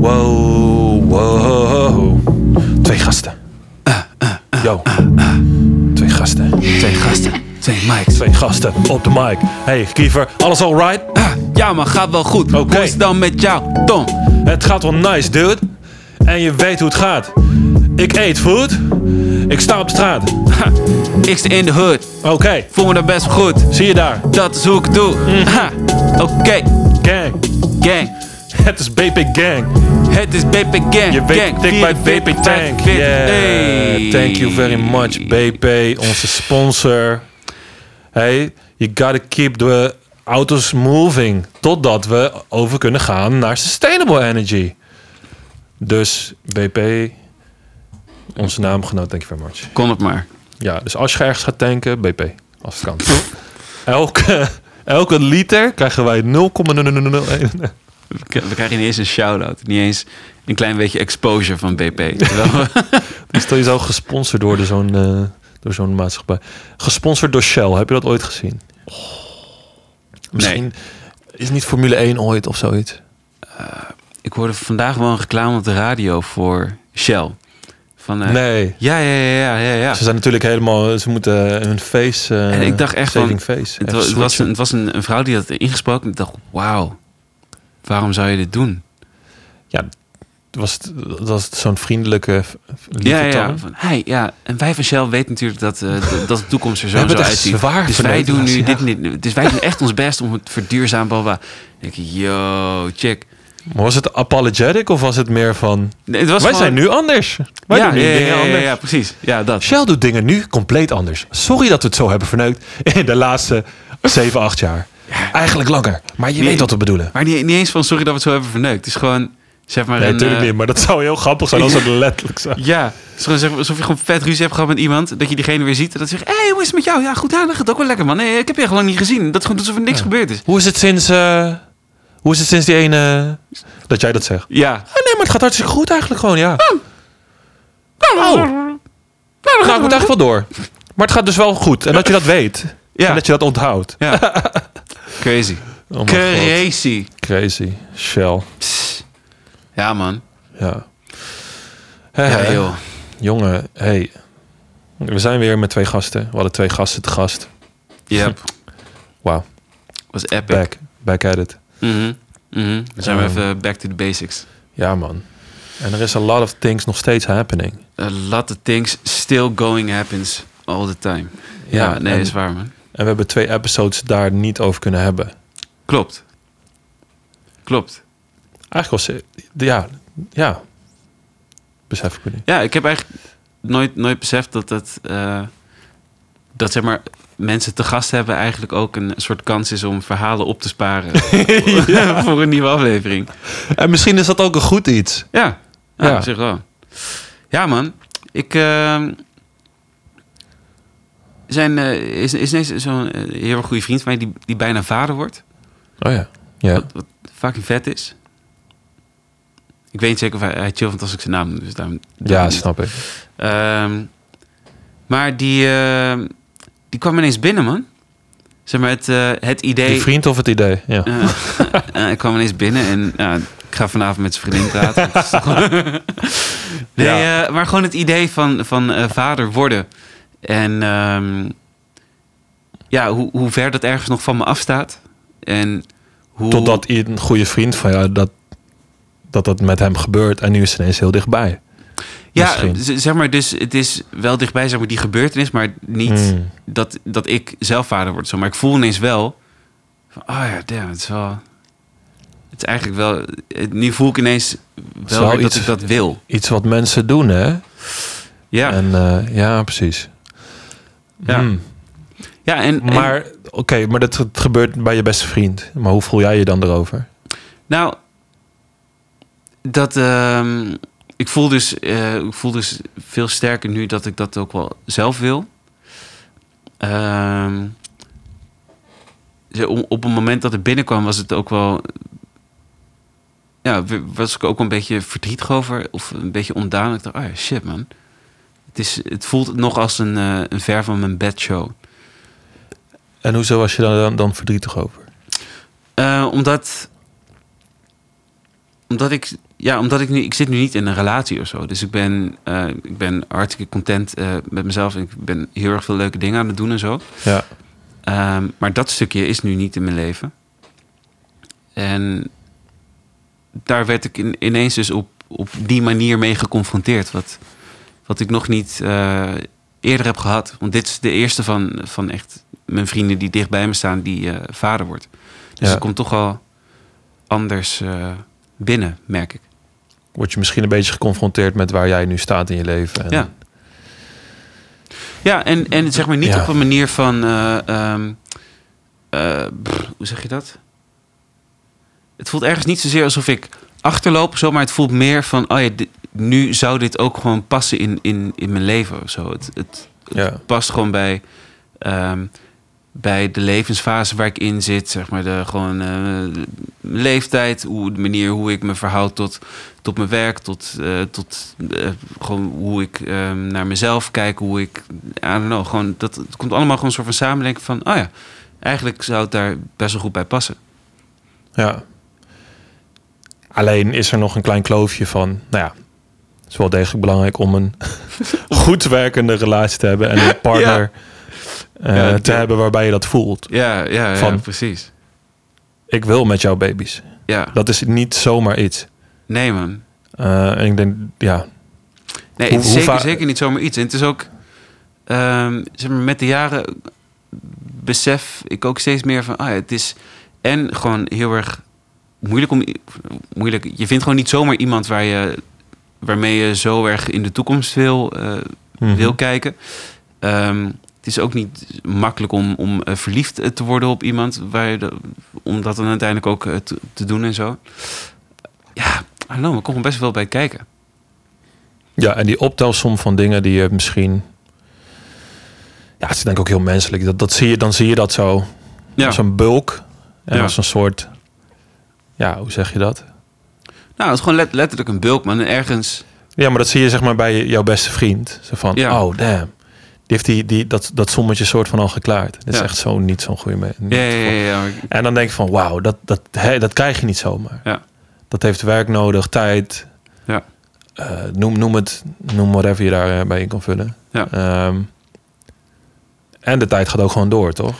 Wow, wow. Twee gasten. Yo. Twee gasten. Twee gasten, twee mics. Twee gasten op de mic. Hey, Kiefer, alles alright? Ah, Ja man, gaat wel goed. Hoe Oké. is het dan met jou, Tom? Het gaat wel nice, dude. En je weet hoe het gaat. Ik eet food. Ik sta op straat. Ik sta in de hood, Oké, voel me er best goed. zie je daar. Dat is hoe ik doe. Mm. Ha. Oké, Gang. gang. Het is BP Gang. Het is BP Gang. Je weet gang. dik bij 44, BP Tank. 45. Yeah. Hey. Thank you very much, BP. Onze sponsor. Hey, you gotta keep the auto's moving. Totdat we over kunnen gaan naar sustainable energy. Dus BP, onze naamgenoot, thank you very much. Kon het maar. Ja, dus als je ergens gaat tanken, BP. Als het kan. Elke, elke liter krijgen wij 0,001. We k- we krijgen niet eens een shout-out. Niet eens een klein beetje exposure van BP. Terwijl we- Stel je zou gesponsord door de- zo'n eh, door zo'n maatschappij. Gesponsord door Shell. Heb je dat ooit gezien? Misschien is niet Formule 1 ooit of zoiets. ik hoorde vandaag wel een reclame op de radio voor Shell. Van, eh, Nee. Ja, ja, ja, ja, ja. ja. Ze zijn natuurlijk helemaal... Ze moeten hun face... eh, En ik dacht echt van, saving face. Het Even was, het was, switchen. een, het was een, een vrouw die had ingesproken. Ik dacht, wauw, waarom zou je dit doen? Ja, was het, was het zo'n vriendelijke... lieve ja, ja. toon? Van, hey, ja. En wij van Shell weten natuurlijk dat, eh, d- dat de toekomst er We zo hebben zou het echt uitzien. zwaar Dus voor wij doen nu Nederland, dit, en dit. Dus wij doen echt ons best om het verduurzaam. Bla, bla. Ik denk, yo, check. Maar was het apologetic of was het meer van... Nee, het was wij gewoon- zijn nu anders. Wij ja, doen nu ja, ja, dingen ja, anders. Ja, ja, precies. Ja, dat. Shell doet dingen nu compleet anders. Sorry dat we het zo hebben verneukt in de laatste 7, 8 jaar. Eigenlijk langer, maar je Nee. weet wat we bedoelen. Maar niet, niet eens van sorry dat we het zo hebben verneukt. Het is gewoon, zeg maar... Nee, een, natuurlijk eh, niet, maar dat zou heel grappig zijn als het letterlijk zou. Ja, het is gewoon zeg maar alsof je gewoon vet ruzie hebt gehad met iemand. Dat je diegene weer ziet en dat ze zegt... Hé, hey, hoe is het met jou? Ja, goed aan, dat gaat ook wel lekker, man. Nee, ik heb je echt lang niet gezien. Dat is gewoon alsof er niks gebeurd is. Hoe is het sinds, eh, hoe is het sinds die ene... Dat jij dat zegt. Ja. Ah, nee, maar het gaat hartstikke goed eigenlijk gewoon, ja. Oh, nou, dan ga ik het echt wel door. Maar het gaat dus wel goed. En dat je dat weet. Ja. En dat je dat onthoudt. Ja. Crazy. Oh mijn god. Crazy. Crazy. Shell. Psst. Ja, man. Ja. Hè, Ja, hè. joh. Jongen, hey. We zijn weer met twee gasten. We hadden twee gasten te gast. Yep. Wauw. Was epic. Back. Back at it. Mhm. Mhm. Dan zijn we Ehm. even back to the basics. Ja, man. En er is a lot of things nog steeds happening. A lot of things still going happens all the time. Ja, nee, en, is waar, man. en we hebben twee episodes daar niet over kunnen hebben. Klopt. Klopt. Eigenlijk was... het- Ja. Ja. Besef ik me niet. Ja, ik heb eigenlijk nooit, nooit beseft dat dat... eh, dat zeg maar, mensen te gast hebben eigenlijk ook een soort kans is om verhalen op te sparen. voor een nieuwe aflevering. En misschien is dat ook een goed iets. Ja, Ja. ja. op zich wel. Ja, man. Ik. ehm, zijn, eh, is, is ineens zo'n eh, heel erg goede vriend van mij die, die bijna vader wordt. Oh ja. Ja. Wat, wat fucking vet is. Ik weet niet zeker of hij, hij chillt, want als ik zijn naam noem, dus daarom. daarom Ja, niet. snap ik. Ehm, maar die, ehm, die kwam ineens binnen, man. Zeg maar, het, eh, het idee. Die vriend of het idee. Ja. Eh, eh, ik kwam ineens binnen en nou, ik ga vanavond met zijn vriendin praten. Het is toch gewoon- nee, eh, maar gewoon het idee van, van eh, vader worden. En ehm, ja, hoe, hoe ver dat ergens nog van me afstaat. En hoe, Totdat een goede vriend van jou... Dat, dat dat met hem gebeurt. En nu is het ineens heel dichtbij. Ja, misschien. z- zeg maar, dus het is wel dichtbij zeg maar, die gebeurtenis, maar niet Hmm. dat, dat ik zelf vader word. Zo. Maar ik voel ineens wel van, oh ja, damn, het is wel... Het is eigenlijk wel... eh, Nu voel ik ineens is wel, wel hard dat iets- ik dat wil. Iets wat mensen doen, hè? Ja, En eh, ja, precies. Ja. Hmm. ja en, en- Maar oké, maar dat het gebeurt bij je beste vriend. Maar hoe voel jij je dan erover? nou, dat ehm, ik voel dus, eh, ik voel dus veel sterker nu dat ik dat ook wel zelf wil. Ehm, zo om- op het moment dat het binnenkwam was het ook wel, ja, w- was ik ook wel een beetje verdrietig over of een beetje ondaan. Ik dacht, oh ja, shit man, het is, het voelt nog als een, eh, een ver van mijn bedshow. En hoezo was je daar dan, dan verdrietig over? Eh, omdat Eh, omdat ik, ja, omdat ik nu, ik zit nu niet in een relatie of zo. Dus ik ben, eh, ik ben hartstikke content eh, met mezelf. en Ik ben heel erg veel leuke dingen aan het doen en zo. Ja. Ehm, maar dat stukje is nu niet in mijn leven. En daar werd ik in- ineens dus op, op die manier mee geconfronteerd. Wat, wat ik nog niet eh, eerder heb gehad. Want dit is de eerste van, van echt mijn vrienden die dicht bij me staan, die eh, vader wordt. Dus Ja. het komt toch al anders eh, binnen, merk ik. Word je misschien een beetje geconfronteerd met waar jij nu staat in je leven. En Ja. Ja, en, en zeg maar niet Ja. op een manier van. eh, ehm, eh, pff, hoe zeg je dat? Het voelt ergens niet zozeer alsof ik achterloop of zo, maar het voelt meer van. Oh ja, dit- nu zou dit ook gewoon passen in, in, in mijn leven of zo. Het, het Ja. past gewoon bij. ehm, bij de levensfase waar ik in zit, zeg maar, de, gewoon eh, de leeftijd, hoe, de manier hoe ik me verhoud tot, tot mijn werk, tot, eh, tot eh, gewoon hoe ik ehm, naar mezelf kijk, hoe ik, I don't know, gewoon, dat, het komt allemaal gewoon een soort van samendenken van, oh ja, eigenlijk zou het daar best wel goed bij passen. ja. Alleen is er nog een klein kloofje van, nou ja, het is wel degelijk belangrijk om een goed werkende relatie te hebben en een partner eh, Ja, te ja. hebben waarbij je dat voelt. Ja, ja, ja, Van- precies. Ik wil met jouw baby's. Ja, Dat is niet zomaar iets. nee man. Eh, en ik denk, ja, Nee, Hoe- het is hoe zeker, vaak- zeker niet zomaar iets. En het is ook, ehm, zeg maar, met de jaren besef ik ook steeds meer van, ah, ja, het is en gewoon heel erg moeilijk om, moeilijk. Je vindt gewoon niet zomaar iemand waar je, waarmee je zo erg in de toekomst wil, eh, Mhm. wil kijken. Ehm, het is ook niet makkelijk om, om eh, verliefd eh, te worden op iemand, waar je de- om dat dan uiteindelijk ook eh, te, te doen en zo. Ja, I don't know, we komen best wel bij kijken. Ja, en die optelsom van dingen die je misschien. Ja, het is denk ik ook heel menselijk. Dat, dat zie je, dan zie je dat zo. Ja. Als een bulk. En Ja. als een soort. Ja, hoe zeg je dat? Nou, het is gewoon let- letterlijk een bulk, man. En ergens... Ja, maar dat zie je zeg maar bij jouw beste vriend. Zo van, Ja. oh damn. Die heeft die, die, dat, dat sommetje soort van al geklaard. Dat is Ja. echt zo niet zo'n goede me- Ja, ja, ja. ja, maar- En dan denk je van, wauw, dat, dat, hè, dat krijg je niet zomaar. Ja. Dat heeft werk nodig, tijd. Ja. Eh, noem, noem het, noem whatever je daarbij in kan vullen. Ja. Ehm, en de tijd gaat ook gewoon door, toch?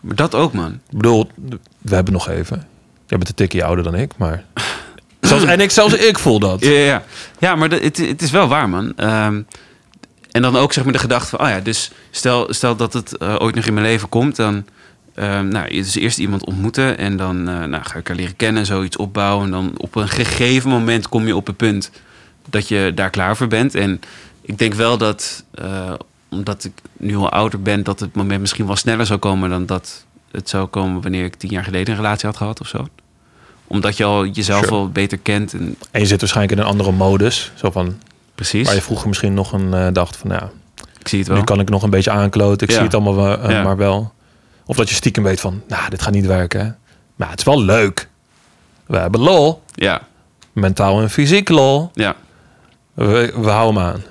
Maar dat ook, man. Ik bedoel, we hebben nog even. Je bent een tikje ouder dan ik, maar... zelfs, en ik, zelfs ik voel dat. Ja, ja, ja. ja maar dat- het, het is wel waar, man. Ehm, en dan ook zeg maar de gedachte van... Oh ja, dus stel, stel dat het eh, ooit nog in mijn leven komt, dan... ehm nou, dus eerst iemand ontmoeten en dan eh, nou, ga ik haar leren kennen, zoiets opbouwen. En dan op een gegeven moment kom je op het punt dat je daar klaar voor bent. En ik denk wel dat, eh, omdat ik nu al ouder ben, dat het moment misschien wel sneller zou komen dan dat het zou komen wanneer ik tien jaar geleden een relatie had gehad of zo. Omdat je al jezelf Sure. al beter kent en En je zit waarschijnlijk in een andere modus. Zo van, precies. waar je vroeger misschien nog een eh, dacht van... Ja, Ik zie het wel. Nu kan ik nog een beetje aankloten. Ik Ja. zie het allemaal wel, eh, Ja. maar wel. Of dat je stiekem weet van, nou, dit gaat niet werken. hè. Maar het is wel leuk. We hebben lol. Ja, Mentaal en fysiek lol. ja. We, we houden hem aan.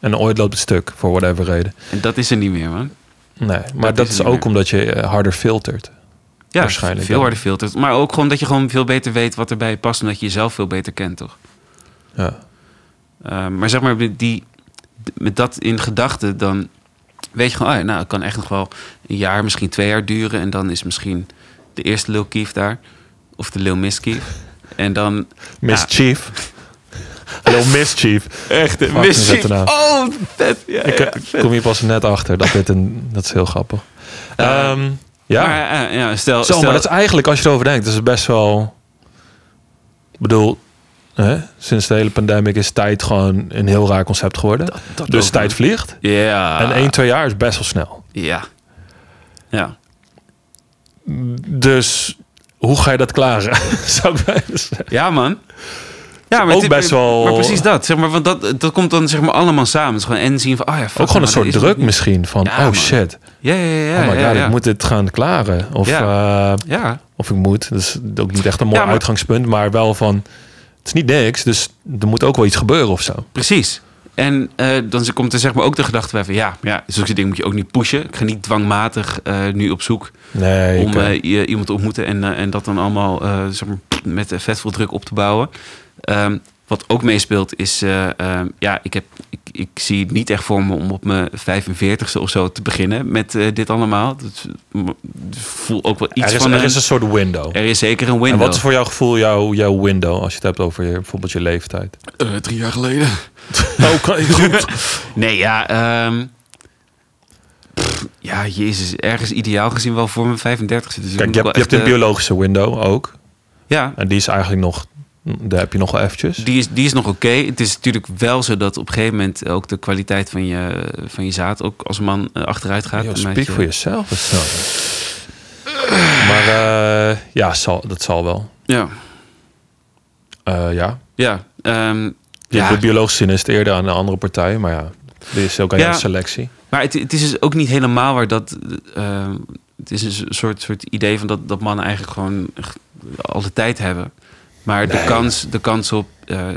En ooit loopt het stuk, voor whatever reden. En dat is er niet meer, man. Nee, maar dat, is is niet ook meer. omdat je eh, harder filtert. Ja, Waarschijnlijk veel dan. harder filtert. Maar ook gewoon dat je gewoon veel beter weet wat erbij past, omdat je jezelf veel beter kent, toch? Ja. Ehm, maar zeg maar, met die, met dat in gedachten, dan weet je gewoon, oh ja, nou, het kan echt nog wel een jaar, misschien twee jaar duren. En dan is misschien de eerste Lil Kief daar, of de Lil Miss Kief. En dan Mischief. Hallo, mischief. echt de Fuck, Miss zet Kief. er nou. Oh, vet. Ja, Ik ja, eh, vet. kom hier pas net achter dat dit een... Dat is heel grappig. Eh, Ehm, ja. Maar, eh, ja, stel, Zo, stel maar dat is eigenlijk, als je erover denkt, dat is best wel... Ik bedoel, hè? sinds de hele pandemic is tijd gewoon een heel raar concept geworden. dus ook, tijd man. vliegt. Ja. En 1, 2 jaar is best wel snel. Ja. Ja. Dus hoe ga je dat klaren? Zou ik bijna zeggen. Ja, man. Ja, Ook best wel- Maar precies dat, zeg maar, want dat, dat komt dan zeg maar allemaal samen. Het is gewoon en zien van, oh ja, fuck, Ook gewoon een maar soort dat is druk nog niet- misschien van, Ja, oh man. shit, Ja, ja, ja. oh ja, my god, ja, ja. ik moet dit gaan klaren. Of, Ja. eh, Ja, of ik moet, dat is ook niet echt een mooi Ja, maar- uitgangspunt, maar wel van, het is niet niks, dus er moet ook wel iets gebeuren of zo. precies. En eh, dan ze- komt er zeg maar ook de gedachte bij van ja, ja, zulke dingen moet je ook niet pushen. Ik ga niet dwangmatig eh, nu op zoek Nee, om ik, eh, eh, i- iemand te ontmoeten en, eh, en dat dan allemaal eh, zeg maar, met eh, vetvol druk op te bouwen. Ehm, wat ook meespeelt is, eh, ehm, ja, ik, heb, ik, ik zie het niet echt voor me om op mijn 45ste of zo te beginnen met eh, dit allemaal. Dat m- voel ook wel iets er, is, van er een- is een soort window. er is zeker een En window. wat is voor jouw gevoel jouw, jouw window als je het hebt over je, bijvoorbeeld je leeftijd? Eh, drie jaar geleden. Oké, goed. Nee, ja. ehm, pff, ja, jezus. Ergens ideaal gezien wel voor mijn 35 Dus ik Kijk, moet je wel hebt, je hebt echt, een eh, biologische window ook. Ja, En die is eigenlijk nog, daar heb je nog wel eventjes. die is, die is nog oké. Het is natuurlijk wel zo dat op een gegeven moment ook de kwaliteit van je, van je zaad ook als een man eh, achteruit gaat. Yo, En dat speak je- voor jezelf. of zo. Maar eh, ja, zal, dat zal wel. Ja, Eh, ja. ja. ehm, ja. ja. De biologische zin is het eerder aan een andere partij. Maar ja, die is ook aan Ja. jouw selectie. Maar het, het is dus ook niet helemaal waar dat. ehm, het is een soort, soort idee van dat, dat mannen eigenlijk gewoon echt alle tijd hebben. Maar de, kans, de kans op. eh,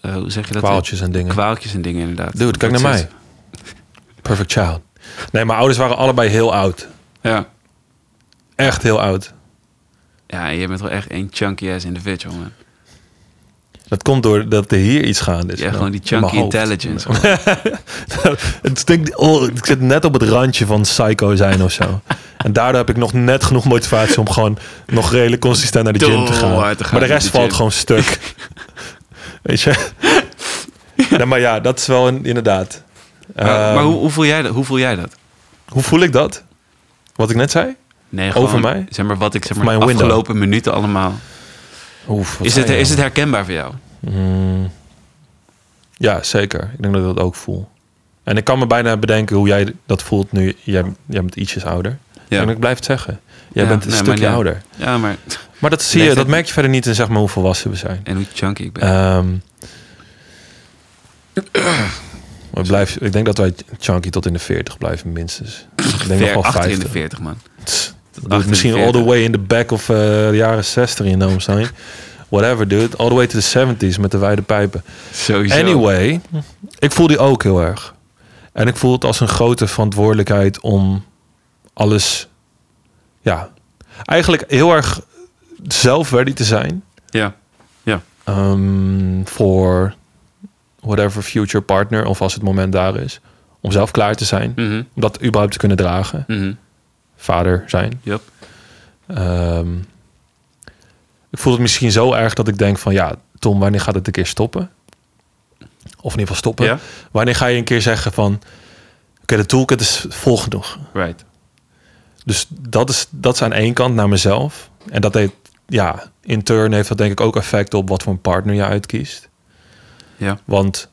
eh, hoe zeg je dat? Kwaaltjes en dingen. Kwaaltjes en dingen, inderdaad. Dude, kijk Dat naar mij. zit- Perfect child. Nee, mijn ouders waren allebei heel oud. Ja. Echt heel oud. Ja, je bent wel echt een chunky ass individual, man. Dat komt doordat er hier iets gaande is. Ja, Nou, gewoon die in mijn chunky hoofd. intelligence. man. Het stinkt, oh, ik zit net op het randje van psycho zijn of zo. En daardoor heb ik nog net genoeg motivatie om gewoon nog redelijk consistent naar de gym te gaan. Doorhard te gaan maar de met rest de valt gym. gewoon stuk. Weet je? Nee, maar ja, dat is wel een, inderdaad. Maar, maar Ehm, hoe, hoe, voel jij dat? hoe voel jij dat? hoe voel ik dat? Wat ik net zei? Nee, Over mij? Zeg maar wat ik zeg maar Over de mijn window. afgelopen minuten allemaal. Oef, wat Is zei het, je is nou? het herkenbaar voor jou? Mm. Ja, zeker. Ik denk dat ik dat ook voel. En ik kan me bijna bedenken hoe jij dat voelt nu. Jij, jij bent ietsjes ouder. Ja. En ik blijf het zeggen. Jij Ja, bent een nee, maar stukje ja. ouder. Ja, maar. Maar dat zie je, Leeftijd. dat merk je verder niet in zeg maar hoe volwassen we zijn. En hoe chunky ik ben. Ehm we blijven, ik denk dat wij chunky tot in de 40 blijven minstens. Ik denk Ver nog wel achter in de 50. 40, man. Tss, dat doet Achter in de misschien all the 40. way in the back of eh, de jaren 60 in Nome zijn. Whatever dude, all the way to the 70s met de wijde pijpen. Sowieso. Anyway, ik voel die ook heel erg. En ik voel het als een grote verantwoordelijkheid om alles, ja, eigenlijk heel erg zelf ready te zijn Ja. ehm, voor whatever future partner of als het moment daar is, om zelf klaar te zijn, Mhm. om dat überhaupt te kunnen dragen, Mhm. vader zijn. Yup. Ehm, ik voel het misschien zo erg dat ik denk van ja, Tom, wanneer gaat het een keer stoppen? Of in ieder geval stoppen. Ja. Wanneer ga je een keer zeggen van... Oké, de toolkit is vol genoeg. Right. Dus dat is, dat is aan één kant naar mezelf. En dat heeft, ja, in turn heeft dat denk ik ook effect op wat voor een partner je uitkiest. Ja. Want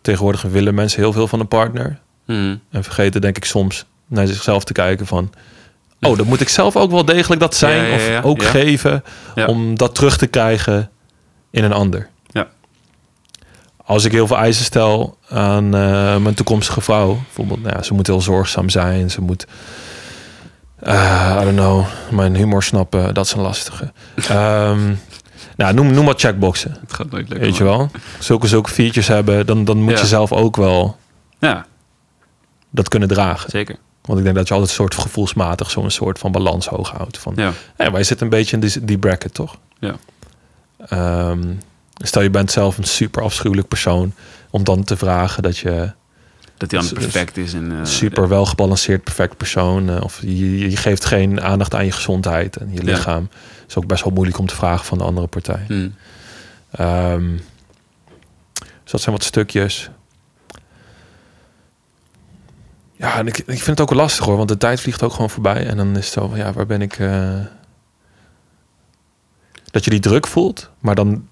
tegenwoordig willen mensen heel veel van een partner. Mhm. En vergeten denk ik soms naar zichzelf te kijken van... Oh, dan moet ik zelf ook wel degelijk dat zijn Ja, ja, ja, of ook ja. geven... Ja. om dat terug te krijgen in een ander. Ja. Als ik heel veel eisen stel aan eh, mijn toekomstige vrouw... bijvoorbeeld, nou ja, ze moet heel zorgzaam zijn, ze moet... eh, I don't know, mijn humor snappen, dat is een lastige. Ehm, nou, noem, noem wat checkboxen, Het gaat nooit lukken. weet je wel. Zulke, zulke features hebben, dan, dan moet Ja. je zelf ook wel man. Ja, dat kunnen dragen. zeker. Want ik denk dat je altijd soort gevoelsmatig zo'n soort van balans hoog houdt. Van, Ja. ja, wij zitten een beetje in die, die bracket, toch? Ja. Ehm, stel je bent zelf een super afschuwelijk persoon. Om dan te vragen dat je Dat hij dan Dus- dus perfect is. En, eh, super wel gebalanceerd, perfect persoon. eh, of je, je geeft geen aandacht aan je gezondheid en je Ja. lichaam. is ook best wel moeilijk om te vragen van de andere partij. Mhm. Ehm, dus dat zijn wat stukjes. Ja, en ik, ik vind het ook wel lastig hoor, want de tijd vliegt ook gewoon voorbij. En dan is het zo van, ja, waar ben ik... eh, Dat je die druk voelt, maar dan...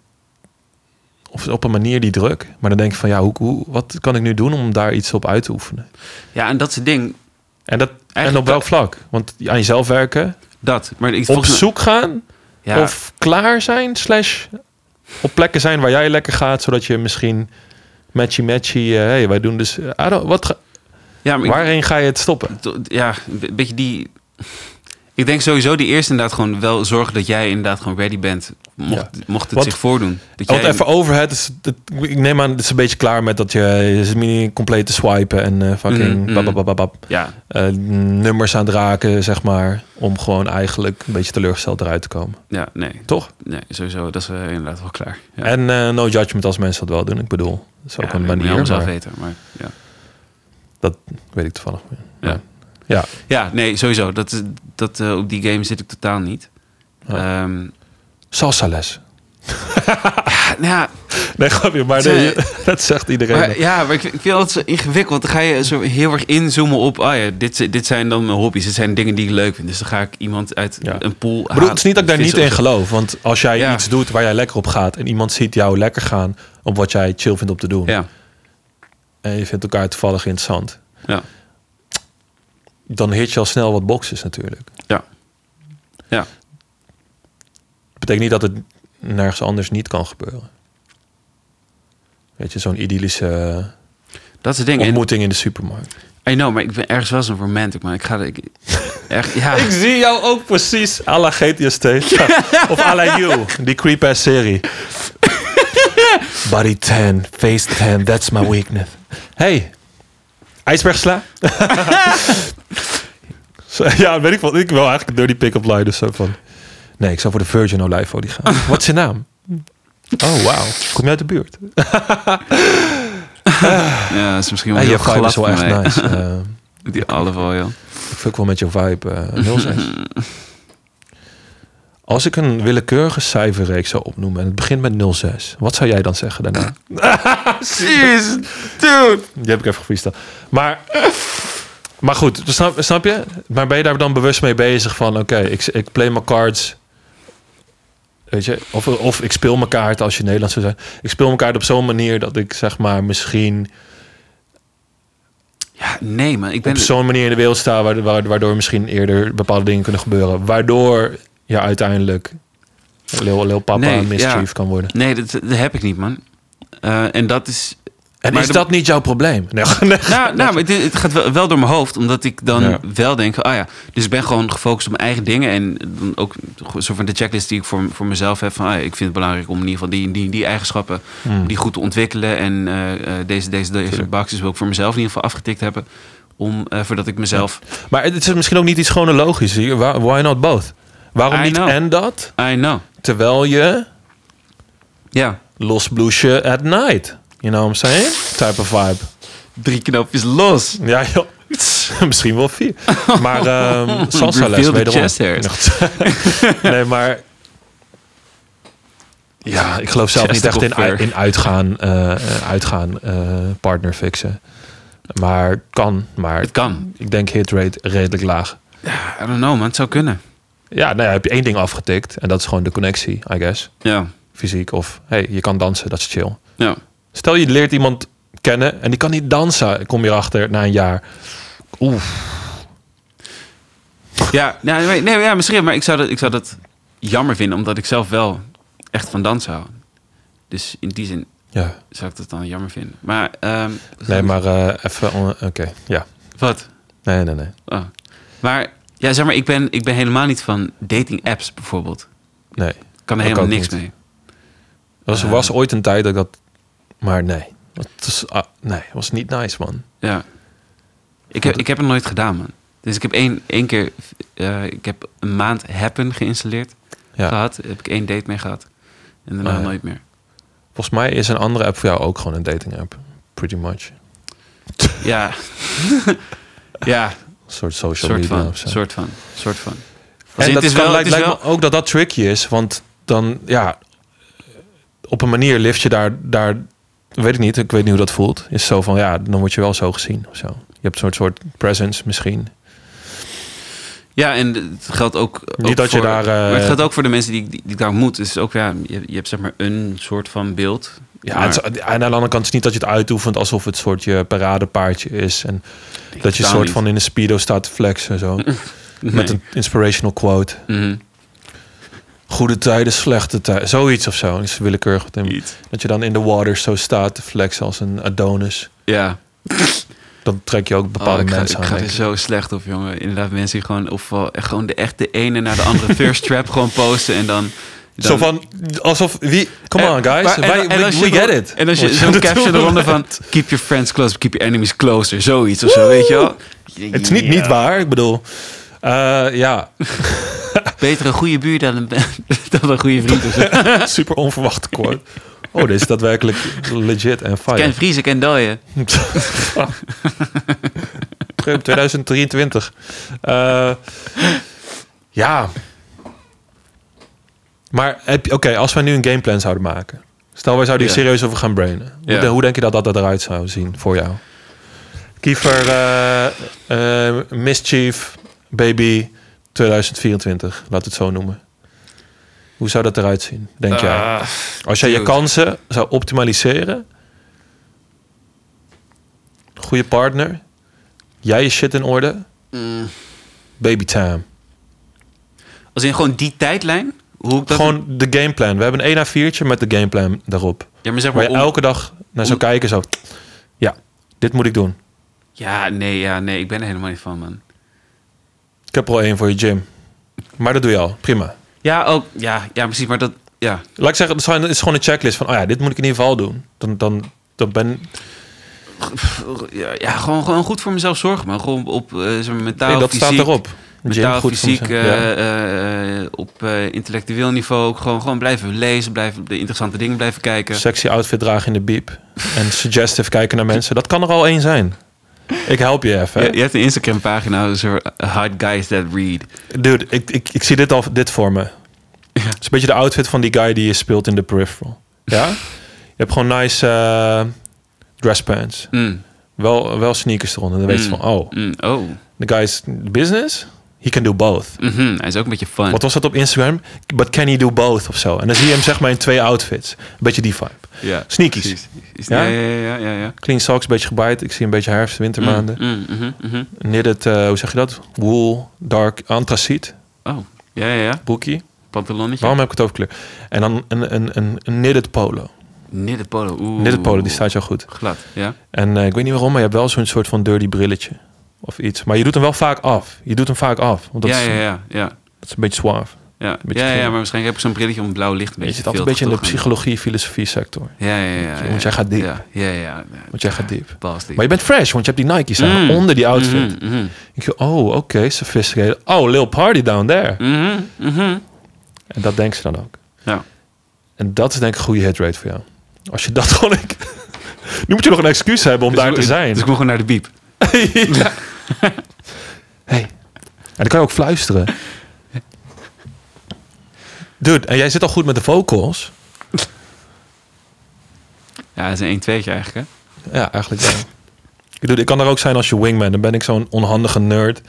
Of op een manier die druk. Maar dan denk je van, ja, hoe, hoe, wat kan ik nu doen om daar iets op uit te oefenen? Ja, en dat is het ding. En, dat, en Eigenlijk op welk vlak? Want aan jezelf werken, Dat. Maar ik, op volgens mij- zoek gaan, Ja. of klaar zijn, slash op plekken zijn waar jij lekker gaat, zodat je misschien matchy matchy, eh, hey, wij doen dus, eh, I don't- wat ga- Ja, maar ik- waarin ga je het stoppen? to- ja, een beetje die. Ik denk sowieso die eerste inderdaad gewoon wel zorgen dat jij inderdaad gewoon ready bent. Mocht, Ja. mocht het Want- zich voordoen. Dat Want jij, even over het, is, het- ik neem aan, het is een beetje klaar met dat je, je zit mini compleet te swipen en eh, Mm, fucking mm. bababababab, Ja, eh, nummers aan het raken, zeg maar, om gewoon eigenlijk een beetje teleurgesteld eruit te komen. ja nee, Toch? nee, sowieso. Dat is eh, inderdaad wel klaar. Ja. En eh, no judgment als mensen dat wel doen. Ik bedoel, dat is ook Ja, een dat moet manier, je allemaal zelf maar weten. Maar, ja. weet ik toevallig. Ja. Ja. ja, nee, sowieso. Dat, is- dat, eh, op die game zit ik totaal niet. Ja. Ehm, Salsa les. ja, nou ja, Nee, grapje, maar Zij- nee, dat zegt iedereen. Maar, ja, maar ik, ik vind dat zo ingewikkeld. Dan ga je zo heel erg inzoomen op... Ah ja, dit, zi- dit zijn dan mijn hobby's. Dit zijn dingen die ik leuk vind. Dus dan ga ik iemand uit Ja. een pool Ik bedoel, het is niet dat ik daar niet vissen in of zo. geloof. Want als jij Ja. iets doet waar jij lekker op gaat... en iemand ziet jou lekker gaan op wat jij chill vindt om te doen... Ja, en je vindt elkaar toevallig interessant... ja, dan hit je al snel wat boxes natuurlijk. ja. Ja, Dat betekent niet dat het nergens anders niet kan gebeuren. Weet je, zo'n idyllische eh, dat is het ding. En, ontmoeting in de supermarkt. I know, maar ik ben ergens wel zo'n romantic, man. Ik ga... er- Ik, echt, ja. zie jou ook precies à la GTST. of à la You, die creep-ass serie. Body tan, face tan, that's my weakness. Hey, ijsbergsla? Zo, ja, weet ik wel. Ik wil eigenlijk door die pick-up line dus zo van... Nee, ik zou voor de Virgin Olijfolie gaan. Wat is je naam? Oh, wauw. Kom je uit de buurt? ja, dat is misschien wel Hey, Ah, je heel vibe glad is wel van echt mij. nice. Eh, Die allemaal, joh. Ik fuck wel met je vibe. eh 06. Als ik een willekeurige cijferreeks zou opnoemen en het begint met 06, wat zou jij dan zeggen daarna? Jeez, dude. Die heb ik even gevriest. Maar, maar goed, snap, snap je? Maar ben je daar dan bewust mee bezig van, oké, ik, ik play mijn cards. Weet je, of, of ik speel mijn kaarten als je Nederlands zou zijn. Ik speel mijn kaarten op zo'n manier dat ik zeg maar misschien Ja, nee, man. Ik ben... op zo'n manier in de wereld sta, waardoor, waardoor- waardoor misschien eerder bepaalde dingen kunnen gebeuren. Waardoor je uiteindelijk Lil, Lil Papa Nee, mischief ja. kan worden. Nee, dat, dat heb ik niet, man. Eh, en dat is... En Maar is de- dat niet jouw probleem? Nee, nee. Nou, nou maar het, het gaat wel, wel door mijn hoofd, omdat ik dan Ja. wel denk: ah ja, dus ik ben gewoon gefocust op mijn eigen dingen. En dan ook een soort van de checklist die ik voor, voor mezelf heb: van ah, ja, ik vind het belangrijk om in ieder geval die, die, die eigenschappen om die goed te ontwikkelen. En eh, eh, deze, deze, deze Tuurlijk. boxes wil ik voor mezelf in ieder geval afgetikt hebben. Om, eh, voordat ik mezelf. Maar het is misschien ook niet iets chronologisch. Why why not both? Waarom I niet know. en dat? I know. Terwijl je Ja. los bloesje at night. You know what I'm saying? Type of vibe. Drie knopjes los. Ja, joh. Misschien wel vier. Maar ehm salsa les, Reveal the wederom. chest hairs. nee, maar... Ja, ik geloof zelf niet echt in, Chesticlever. ui- in uitgaan, eh, eh, uitgaan eh, partner fixen. Maar kan. Maar Het kan. ik denk hit rate redelijk laag. I don't know, man. Het zou kunnen. Ja, nou ja, heb je één ding afgetikt. En dat is gewoon de connectie, I guess. Ja. Fysiek. Of, hey, je kan dansen, dat is chill. Ja. Stel je leert iemand kennen en die kan niet dansen, kom je erachter na een jaar. Oeh, Ja, nou, nee, nee, ja, misschien, maar ik zou, dat, ik zou dat jammer vinden, omdat ik zelf wel echt van dans hou. Dus in die zin ja. zou ik dat dan jammer vinden. Maar, ehm, Nee, maar eh, even. on- Oké, ja. Wat? Nee, nee, nee. Oh. Maar, ja, zeg maar, ik ben, ik ben helemaal niet van dating apps bijvoorbeeld. nee. Ik kan er Ik helemaal ook niks niet. mee. Er was, Eh. was ooit een tijd dat ik dat. Maar nee. Het is, ah, nee, was niet nice, man. Ja. Ik heb, ik heb het nooit gedaan, man. Dus ik heb één, één keer, eh, ik heb een maand Happen geïnstalleerd Ja. gehad. Heb ik één date mee gehad. En daarna Oh, ja. nooit meer. Volgens mij is een andere app voor jou ook gewoon een dating app. Pretty much. Ja. ja, Een soort social soort media van, of zo. soort van, soort van. Dus En het dat is kan- wel- lijkt, het is lijkt me ook dat dat tricky is, want dan, ja, op een manier lift je daar, daar, weet ik niet, ik weet niet hoe dat voelt. Is zo van, ja, dan word je wel zo gezien of zo. Je hebt een soort, soort presence misschien. Ja, en het geldt ook. Niet ook dat je voor- daar, eh, maar het geldt ook voor de mensen die, die, die ik daar ontmoet. Dus ook, ja, je, je hebt zeg maar een soort van beeld. Ja, Maar het is- en aan de andere kant is niet dat je het uitoefent alsof het soort je paradepaardje is. En ik dat je totaal soort niet. van in een speedo staat te flexen zo. Nee. Met een inspirational quote. Mhm. Goede tijden, slechte tijden. Zoiets of zo. Is willekeurig. wat in- Iets. Dat je dan in de water zo staat te flexen als een Adonis. Ja. dan trek je ook Oh, bepaalde ik ga, mensen ik aan. ga er denk ik. zo slecht op, jongen. Inderdaad, mensen die gewoon, of wel echt gewoon de, echt de ene naar de andere thirst trap gewoon posten en dan... dan Zo van, alsof, wie, come En- on guys, maar- wij, we, als je we get er- it. En als je Wat zo'n aan het caption doen eronder bent. van... Keep your friends close, keep your enemies closer. Zoiets of zo, weet je wel? Het is niet Ja. niet waar, ik bedoel. eh, ja, Beter een goede buur dan een, dan een goede vriend Dus of zo. super onverwacht kort. Oh, dit is daadwerkelijk legit en fire. Ken vriezen, ken dooien. Trump 2023. Eh, ja. Maar heb je- oké, als wij nu een gameplan zouden maken. Stel, wij zouden hier Ja. serieus over gaan brainen. Hoe, Ja. de- hoe denk je dat dat eruit zou zien voor jou? Kiefer, eh, eh, Mischief, Baby 2024. Laat het zo noemen. Hoe zou dat eruit zien, denk jij? Ah, Als jij je dude. kansen zou optimaliseren. Goede partner. Jij je shit in orde. mm. Baby time. Als in gewoon die tijdlijn? Hoe ik dat... Gewoon de gameplan. We hebben een 1 à 4'tje met de gameplan daarop. ja, maar zeg Waar maar... je om- elke dag naar zou om- kijken. Zo, ja, dit moet ik doen. Ja, nee, ja, nee. Ik ben er helemaal niet van, man. Ik heb er al één voor je gym. Maar dat doe je al. Prima. Ja, ook... Ja, ja precies, maar dat... Ja, Laat ik zeggen, het is gewoon- het is gewoon een checklist van... Oh ja, dit moet ik in ieder geval doen. Dan, dan, dan ben ja, ja gewoon, gewoon goed voor mezelf zorgen, man. Gewoon op eh, zeg maar, mentaal, nee, dat fysiek... staat erop. Gym, Mentaal, goed voor fysiek, mezelf. eh, Ja. eh, eh, op eh, intellectueel niveau ook gewoon, gewoon blijven lezen, blijven de interessante dingen blijven kijken. Sexy outfit dragen in de biep. En suggestive kijken naar mensen. Dat kan er al één zijn. Ik help je even. hè. Je, je hebt een Instagram pagina, Hard Guys That Read. Dude, ik, ik, ik zie dit, al, dit voor me. Het is een beetje de outfit van die guy die je speelt in de peripheral. Ja? je hebt gewoon nice eh, dress pants. Mm, Wel, wel sneakers eronder. Dan weet je Mm. van, oh, mm, oh, the guy's business? He can do both. mhm, hij is ook een beetje fun. Wat was dat op Instagram? But can he do both of zo? En dan zie je hem zeg maar in twee outfits. Een beetje die vibe. Ja. Sneakies. Precies. Is- Ja? Ja, ja, ja, ja. ja. Clean socks, een beetje gebaaid. Ik zie een beetje herfst, wintermaanden. Mm, mm, mhm, mhm. Knitted, eh, hoe zeg je dat? Wool, dark, antraciet, Oh, ja, ja, ja. broekie. Pantalonnetje. Waarom heb ik het over kleur? En dan een, een, een, een knitted polo. Nidderpolo. Oeh. Knitted polo, die staat jou goed. Glad, ja. En eh, ik weet niet waarom, maar je hebt wel zo'n soort van dirty brilletje. Of iets. Maar je doet hem wel vaak af. Je doet hem vaak af. Want dat, Ja, is, ja, ja, ja. dat is een beetje zwaar. Ja, beetje ja, ja, geel. maar waarschijnlijk heb ik zo'n brilletje om blauw licht een Je beetje zit te altijd een beetje veel in de terug aan. psychologie-filosofie sector. Ja, ja, ja. ja, Want jij ja. gaat diep. Ja, ja, ja. ja. Want jij gaat diep. Pas diep. Maar je bent fresh, want je hebt die Nike's aan. Mm. Onder die outfit. Mhm, mhm. Ik denk, oh, oké, sophisticated. Oh, Lil Party down there. Mhm, mhm. En dat denkt ze dan ook. Ja. En dat is denk ik een goede hitrate voor jou. Als je dat gewoon... Ik... nu moet je nog een excuus hebben om Dus daar ik- te zijn. Dus ik moet gewoon naar de biep. ja. Hey. En dan kan je ook fluisteren. Dude, en jij zit al goed met de vocals. Ja, dat is een 1 2 eigenlijk, hè? Ja, eigenlijk wel. Dude, ik kan er ook zijn als je wingman. Dan ben ik zo'n onhandige nerd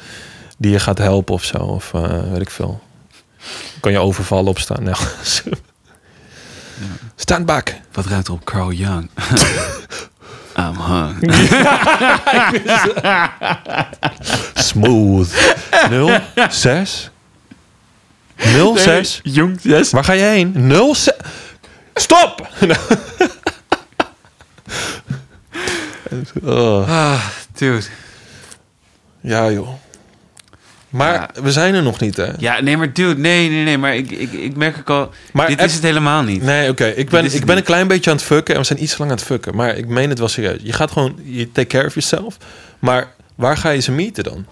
die je gaat helpen of zo. Of eh, weet ik veel. Kan je overvallen opstaan. Nou, Stand back. Wat ruikt er op Carl Young? I'm hung. Smooth. 0, 6. 0, 6. Jong, yes. Waar ga je heen? 0, 6. Stop! Oh, Ah, dude. ja, joh. Maar Ja. we zijn er nog niet, hè? Ja, nee, maar dude, nee, nee, nee. Maar ik, ik, ik merk ook al, Maar dit heb- is het helemaal niet. Nee, oké. Ik Dit ben, is het ik ben een niet. klein beetje aan het fucken en we zijn iets te lang aan het fucken. Maar ik meen het wel serieus. Je gaat gewoon, je take care of yourself. Maar waar ga je ze meeten dan?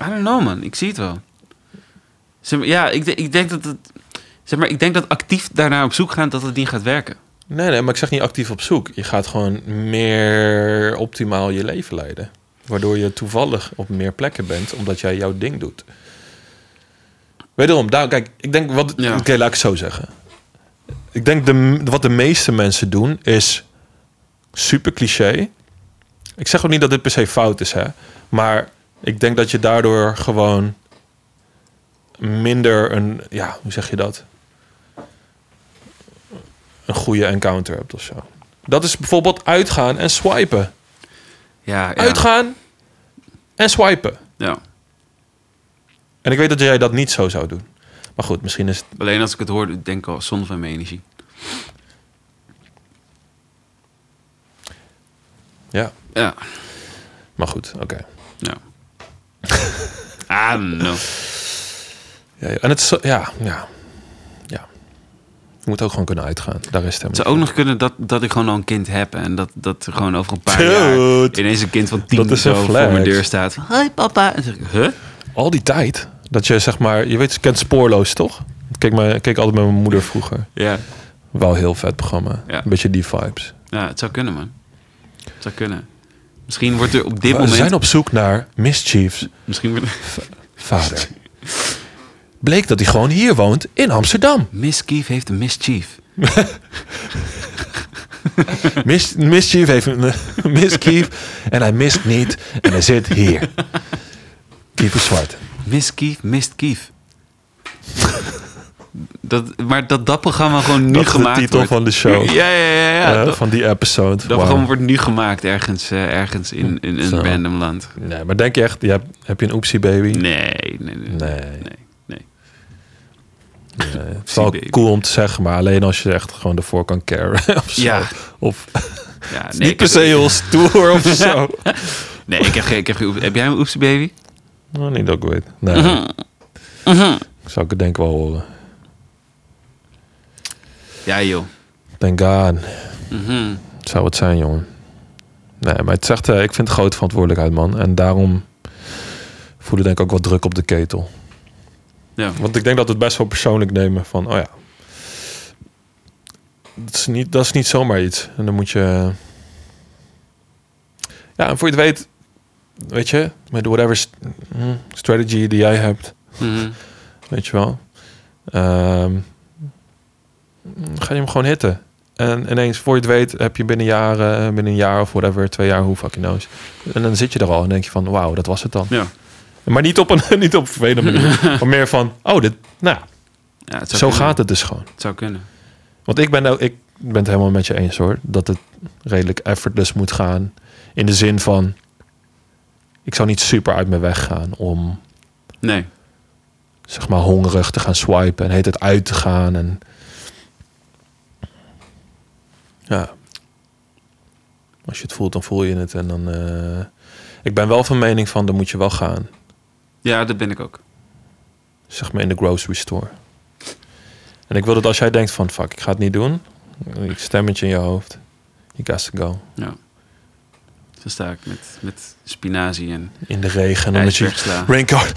I don't know, man. Ik zie het wel. Zeg maar, ja, ik, de- ik denk dat het... Zeg maar, ik denk dat actief daarna op zoek gaan, dat het niet gaat werken. Nee, nee, maar ik zeg niet actief op zoek. Je gaat gewoon meer optimaal je leven leiden. Waardoor je toevallig op meer plekken bent, omdat jij jouw ding doet. Wederom, daar, kijk, ik denk wat. Ja. Oké, laat ik het zo zeggen. Ik denk de, wat de meeste mensen doen is super cliché. Ik zeg ook niet dat dit per se fout is, hè. Maar ik denk dat je daardoor gewoon minder een, ja, hoe zeg je dat? Een goede encounter hebt of zo. Dat is bijvoorbeeld uitgaan en swipen. Ja, ja. Uitgaan en swipen. Ja. En ik weet dat jij dat niet zo zou doen. Maar goed, misschien is het... Alleen als ik het hoor, denk ik al, zonde van mijn energie. Ja. Ja. Maar goed, oké. Nou. I don't know. Ja, ja. en het is zo- ja, ja, ja. Je moet ook gewoon kunnen uitgaan. Daar is het Het helemaal zou ook nog kunnen dat, dat ik gewoon al een kind heb. En dat, dat er gewoon over een paar jaar Dude. ineens een kind van tien Dat is zo een voor flex. mijn deur staat. Hoi papa. En dan zeg ik, huh? niet. Al die tijd dat je zeg maar... Je weet, je kent Spoorloos, toch? Ik keek, me, keek altijd met mijn moeder vroeger. Ja. Wel heel vet programma. Ja. Een beetje die vibes. ja, het zou kunnen man. Het zou kunnen. Misschien wordt er op dit We moment... zijn op zoek naar Mischiefs Misschien wordt... vader. Bleek dat hij gewoon hier woont in Amsterdam. Mischief heeft een mischief. Mis, mischief heeft een mischief en hij mist niet en hij zit hier. Kieper Zwart. Miskief, mistkief. dat, maar dat dat programma gewoon nu Dat is de gemaakt titel wordt. van de show. Ja, ja, ja. ja. Eh, dat van die episode. dat Wauw. programma wordt nu gemaakt ergens, eh, ergens in, in een Zo. random land. Nee, maar denk je echt, je hebt, heb je een oepsie baby? Nee, nee, nee. Nee. nee, nee. Nee. Het is wel baby. cool om te zeggen, maar alleen als je echt gewoon ervoor kan caren. Of zo. Ja. Of Ja, nee, niet ik per se heb- heel stoer of zo. Nee, ik heb geen... Ik heb, geen oep- heb jij een oepsie baby? Nou, niet dat ik weet. Nee. Mhm. Zou ik het denk ik wel horen. Ja, joh. Thank God. Mhm. Zou het zijn, jongen. Nee, maar het zegt, eh, ik vind het grote verantwoordelijkheid, man. En daarom voel ik denk ik ook wat druk op de ketel. Ja. Want ik denk dat we het best wel persoonlijk nemen van, oh ja. Dat is niet, dat is niet zomaar iets. En dan moet je... Ja, en voor je het weet, weet je, met whatever st- hm, strategy die jij hebt, Mhm. weet je wel. ehm, ga je hem gewoon hitten. En ineens, voor je het weet, heb je binnen jaren, binnen een jaar of whatever, twee jaar, hoe fucking knows. En dan zit je er al en denk je van, wauw, dat was het dan. ja. Maar niet op een, niet op een vervelende manier. maar meer van, oh, dit, nou, ja, ja het zou zo kunnen. gaat het dus gewoon. Het zou kunnen. Want ik ben, nou- ik ben het helemaal met je eens hoor. Dat het redelijk effortless moet gaan. In de zin van, ik zou niet super uit mijn weg gaan om Nee. zeg maar hongerig te gaan swipen en heet het uit te gaan. En... Ja. Als je het voelt, dan voel je het. En dan, eh, Ik ben wel van mening van, dan moet je wel gaan. Ja, dat ben ik ook. zeg maar in de grocery store. En ik wil dat als jij denkt van fuck, ik ga het niet doen. Ik stemmetje in je hoofd. You got to go. Ja. Zo sta ik met, met spinazie en In de regen. Omdat je ijsbergsla. raincoat.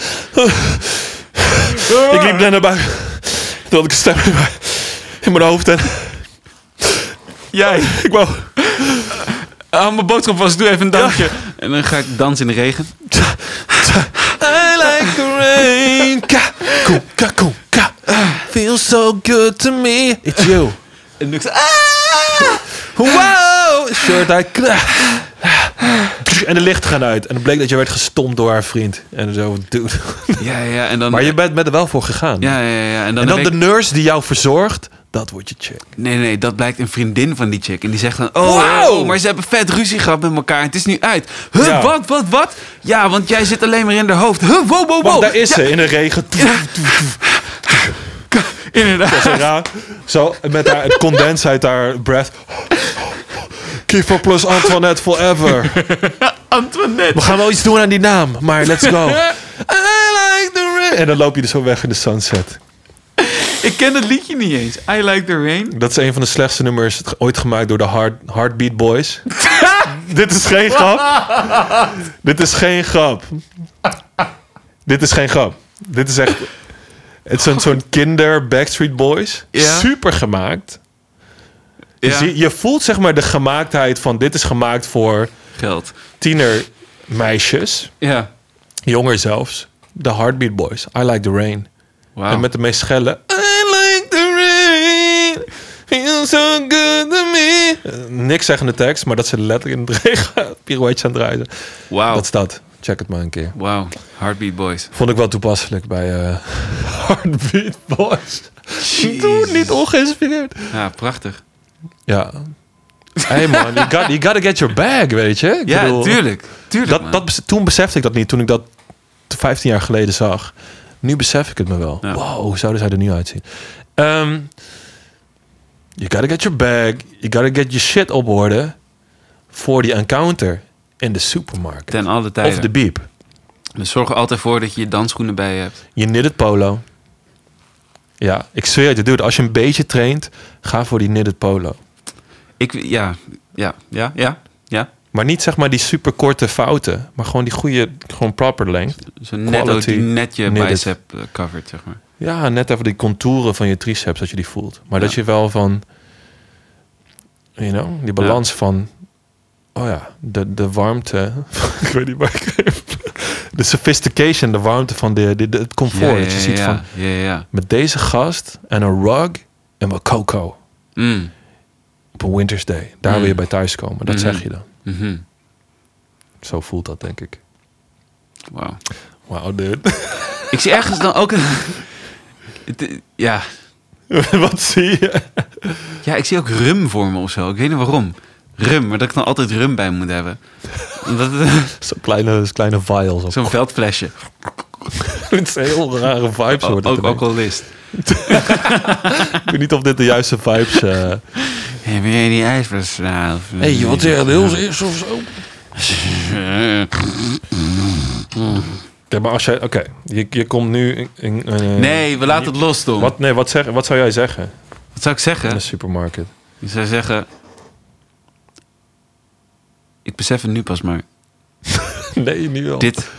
ik liep net naar buiten. Toen had ik een stem in mijn- in mijn hoofd. En Jij, ik wou... haal mijn boodschap vast, doe even een dansje. En dan ga ik dansen in de regen. I like the rain. Ka, koe, ka, koe, ka. Feels so good to me. It's you. En ik ah! Wow! Shirt uit. En de lichten gaan uit. En het bleek dat je werd gestompt door haar vriend. En zo, dude. Ja, ja, en dan... Maar je bent met er wel voor gegaan. Ja, ja, ja. En dan, En dan een de week- nurse die jou verzorgt, dat wordt je check. Nee, nee, dat blijkt een vriendin van die chick. En die zegt dan... Oh, Wauw! oh, maar ze hebben vet ruzie gehad met elkaar. Het is nu uit. Huh, Ja. wat, wat, wat? Ja, want jij zit alleen maar in haar hoofd. Huh, wow, wow, wow. Want daar is Oh, Ja, ze in de regen. Inderdaad. Zo raar. Zo met haar het condens uit haar breath. Kiefer plus Antoinette forever. We Antoinette. gaan wel iets doen aan die naam, maar let's go. I like the rain. En dan loop je er zo weg in de sunset. Ik ken het liedje niet eens. I like the rain. Dat is een van de slechtste nummers ooit gemaakt door de Heart, Heartbeat Boys. Dit is geen grap. Dit is geen grap. Dit is geen grap. Dit is echt. Het is een soort kinder Backstreet Boys. Ja. Super gemaakt. Dus Ja. je, je voelt zeg maar de gemaaktheid van dit is gemaakt voor Geld. tienermeisjes. Ja. Jonger zelfs. De Heartbeat Boys. I like the rain. Wauw. En met de meest schelle. I like the rain. Feels so good to me. Eh, niks zeggen de tekst, maar dat ze letterlijk in de regen pirouetjes aan het draaien. zijn. Wauw. Dat is dat. Check het maar een keer. Wauw. Heartbeat Boys. Vond ik wel toepasselijk bij eh, Heartbeat Boys. Doe Jezus. niet ongeïnspireerd. Ja, prachtig. Ja. Hey man, you, got, you gotta get your bag, weet je? Ik Ja, bedoel, tuurlijk. Tuurlijk, Dat, man. dat, bes- toen besefte ik dat niet, toen ik dat 15 jaar geleden zag. Nu besef ik het me wel. Ja. Wow, hoe zouden zij er nu uitzien? Ehm, you gotta get your bag. You gotta get your shit op orde voor die encounter. in de supermarkt. Ten alle Of de tijden. biep. Dus zorg er altijd voor dat je je dansschoenen bij je hebt. Je knitted polo. Ja, ik zweer het je, dude. Als je een beetje traint, ga voor die knitted polo. Ik, ja, ja, ja, ja, ja. Maar niet zeg maar die superkorte fouten, maar gewoon die goede, gewoon proper length. Zo net, Quality die net je knitted. bicep eh, covered, zeg maar. Ja, net even die contouren van je triceps, dat je die voelt. Maar dat Ja. je wel van, you know, die balans van, oh ja, de, de warmte. ik weet niet waar ik De sophistication, de warmte van de, de, de- het comfort. Ja, dat je ziet ja, van, Ja, ja, ja. met deze gast en een rug en wat coco Mm, op een winter's day. Daar Mm. wil je bij thuis komen, dat Mhm. zeg je dan. mhm. Zo voelt dat, denk ik. Wauw. Wow, dude. Ik zie ergens dan ook een... Het- Ja, Wat zie je? Ja, ik zie ook rum voor me of zo. Ik weet niet waarom. Rum, maar dat ik dan altijd rum bij moet hebben. Omdat het- Zo'n kleine, kleine vials. Zo'n veldflesje. Het zijn heel rare vibes. Ook, Hoor, ook alcoholist. Ik weet niet of dit de juiste vibes... eh Hey, ben jij die ijsbers? Hé, is of zo? eh, Ja, maar als jij... Oké, je, je komt nu... In, in, eh, Nee, we laten het los, Tom. Wat, Wat, Dus- nee, wat, zeg, wat zou jij zeggen zou ik in zeggen? de supermarket? Ik zou zeggen... Ik besef het nu pas maar. Nee, nu wel. Dit,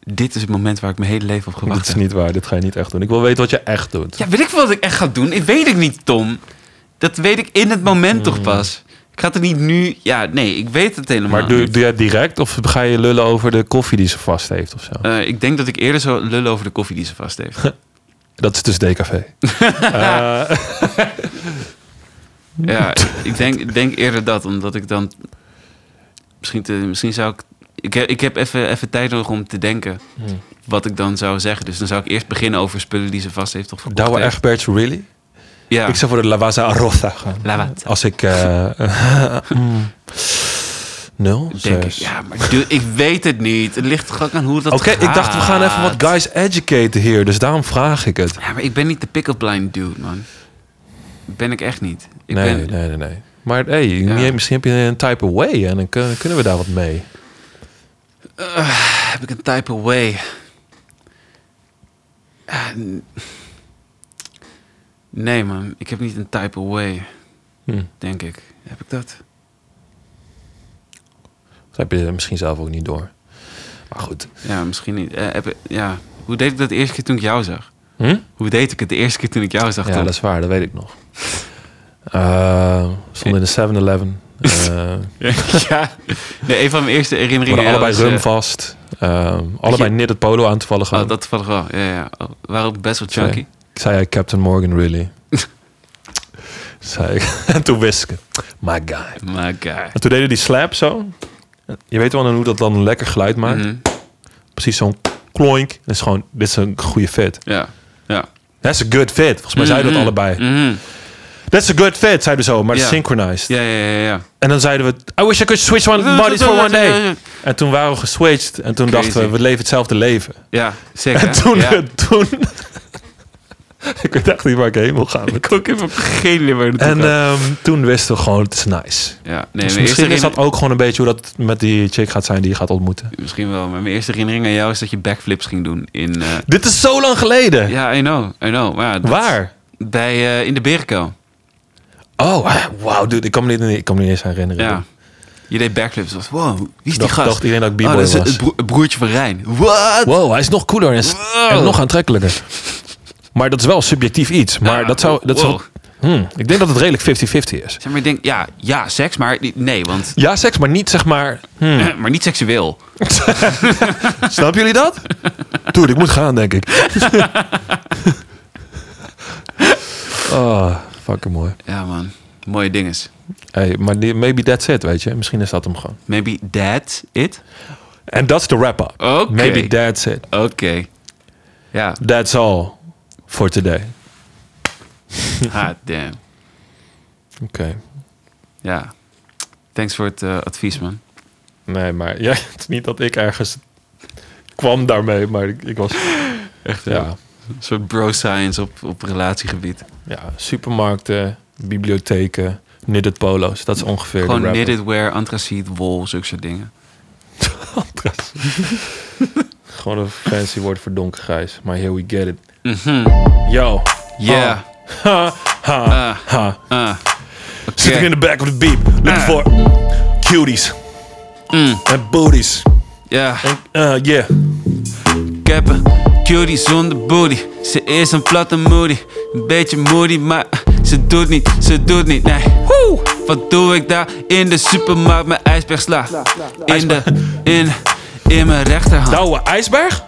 dit is het moment waar ik mijn hele leven op Dit gewacht is heb. niet waar. Dit ga je niet echt doen. Ik wil weten wat je echt doet. Ja, weet ik wat ik echt ga doen? Ik weet ik niet, Tom. Dat weet ik in het moment toch Hmm. pas. Ik ga het er niet nu... Ja, nee, ik weet het helemaal Maar doe, niet. doe jij het direct of ga je lullen over de koffie die ze vast heeft of zo? Eh, ik denk dat ik eerder zou lullen over de koffie die ze vast heeft. Dat is dus DKV. Eh, ja, ik denk, ik denk eerder dat, omdat ik dan... Misschien, te- misschien zou ik... Ik heb, ik heb even, even tijd nodig om te denken Hmm. wat ik dan zou zeggen. Dus dan zou ik eerst beginnen over spullen die ze vast heeft of verkocht Douwe heeft. Egberts, really? Ja. Ik zou voor de Lavaza Rosa gaan. Lavazza. Als ik... eh mm, nul? Denk ik, zes. ja, maar dude, ik weet het niet. Het ligt gewoon aan hoe dat Oké, ik dacht we gaan even gaat. wat guys educaten hier. Dus daarom vraag ik het. Ja, maar ik ben niet de pick-up line dude, man. Ben ik echt niet. Ik nee, ben, nee, nee, nee. Maar hey, Ja. misschien heb je een type way en dan kun- kunnen we daar wat mee. Ah, Heb ik een type way? Ah, n- Nee, man. Ik heb niet een type way, Hm. denk ik. Heb ik dat? Dat heb je er misschien zelf ook niet door. Maar goed. Ja, misschien niet. Eh, heb ik- ja. Hoe deed ik dat de eerste keer toen ik jou zag? Hm? Hoe deed ik het de eerste keer toen ik jou zag? Ja, Tom? dat is waar, dat weet ik nog. Eh, we stonden in de 7-Eleven. Eh ja. Nee, een van mijn eerste we herinneringen. hadden allebei was, rum eh, vast. Eh, allebei net het polo aan toevallig. oh, dat toevallig wel. Ja, ja. Oh, we waren ook best wel Zei- chunky. Ik zei ja, Captain Morgan, really. zei ik. En toen wist ik het. My guy. My god. En toen deden die slap zo. Je weet wel dan hoe dat dan een lekker geluid maakt. Mhm. Precies zo'n kloink. Dat is gewoon, dit is een goede fit. Ja. Ja. That's a good fit. Volgens mij zeiden we dat Mhm. allebei. Mhm. That's a good fit, zeiden we zo, maar Ja. synchronized. Ja, ja, ja, ja. En dan zeiden we, I wish I could switch one bodies for one day. En toen waren we geswitcht en toen Crazy. dachten we, we leven hetzelfde leven. Ja, zeker. En toen, Ja. toen ik weet echt niet waar ik heen wil gaan. met- Ik heb geen idee waar je En naartoe gaat. ehm, toen wisten we gewoon, het is nice. ja, nee, dus mijn eerste misschien is dat herinnering- ook gewoon een beetje hoe dat met die chick gaat zijn die je gaat ontmoeten. misschien wel, maar mijn eerste herinnering aan jou is dat je backflips ging doen in... eh, Dit is zo lang geleden. ja, I know, I know. Maar ja, dat- Waar? Bij, eh, in de Berkel. Oh, wauw, dude. Ik kan me niet, ik kan me niet eens herinneren. Ja. Je deed backflips. Was, wow, wie is die Dacht- gast? dacht iedereen dat ik b-boy oh, dat is was. het bro- het broertje van Rijn. What? Wow, hij is nog cooler en, s- Wow. en nog aantrekkelijker. Maar dat is wel subjectief iets. Maar Ja, dat zou... Dat wow. zou Hmm, ik denk dat het redelijk 50-50 is. Zeg maar, ik denk, ja, ja, seks, maar niet- nee, want... Ja, seks, maar niet zeg maar... hmm. Maar niet seksueel. Snappen jullie dat? Dude, ik moet gaan, denk ik. oh, fucking mooi. Ja, man. Mooie dinges. Hey, maar die- maybe that's it, weet je. Misschien is dat hem gewoon. Maybe that it? En that's the wrap-up. Oké. Maybe that's it. Oké. Ja, That's all for today. hot Ah, damn. Oké. Ja. Thanks voor het eh, advies, man. Nee, maar ja, het is niet dat ik ergens kwam daarmee, maar ik, ik was... Echt, Ja, Een soort bro-science op, op relatiegebied. ja supermarkten, bibliotheken, knitted polo's. Dat is ongeveer de Gewoon wrap-up. knitted wear, anthracite, wol, zulke soort dingen. Antras. Gewoon een fancy woord voor donkergrijs. Maar here we get it. Yo. Mhm. Oh. Yeah. Ha, ha, Ah. ha. Ah. Oké. Sitting in the back of the beep. Looking Ah. Mm. for cuties. En booties. Ja. Uh, yeah. Ik heb een cutie zonder booty. Ze is een platte moody. Een beetje moody, maar ze doet niet, ze doet niet, nee. Woe! Wat doe ik daar in de supermarkt? Mijn ijsberg sla. In de, in, in mijn rechterhand. Douwe ijsberg?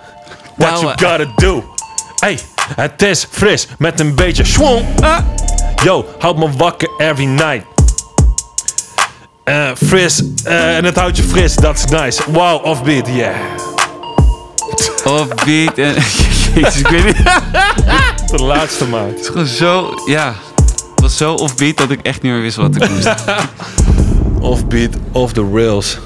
What you Douwe- gotta do? Hey, het is fris met een beetje schwong. Ah. Yo, houd me wakker every night. Eh, fris, eh, en het houdt je fris, that's nice. Wow, offbeat, yeah. Of beat en... Jezus, ik weet niet. Het De laatste maand. is gewoon zo, ja. Het was zo offbeat dat ik echt niet meer wist wat ik moest. Offbeat, off the rails.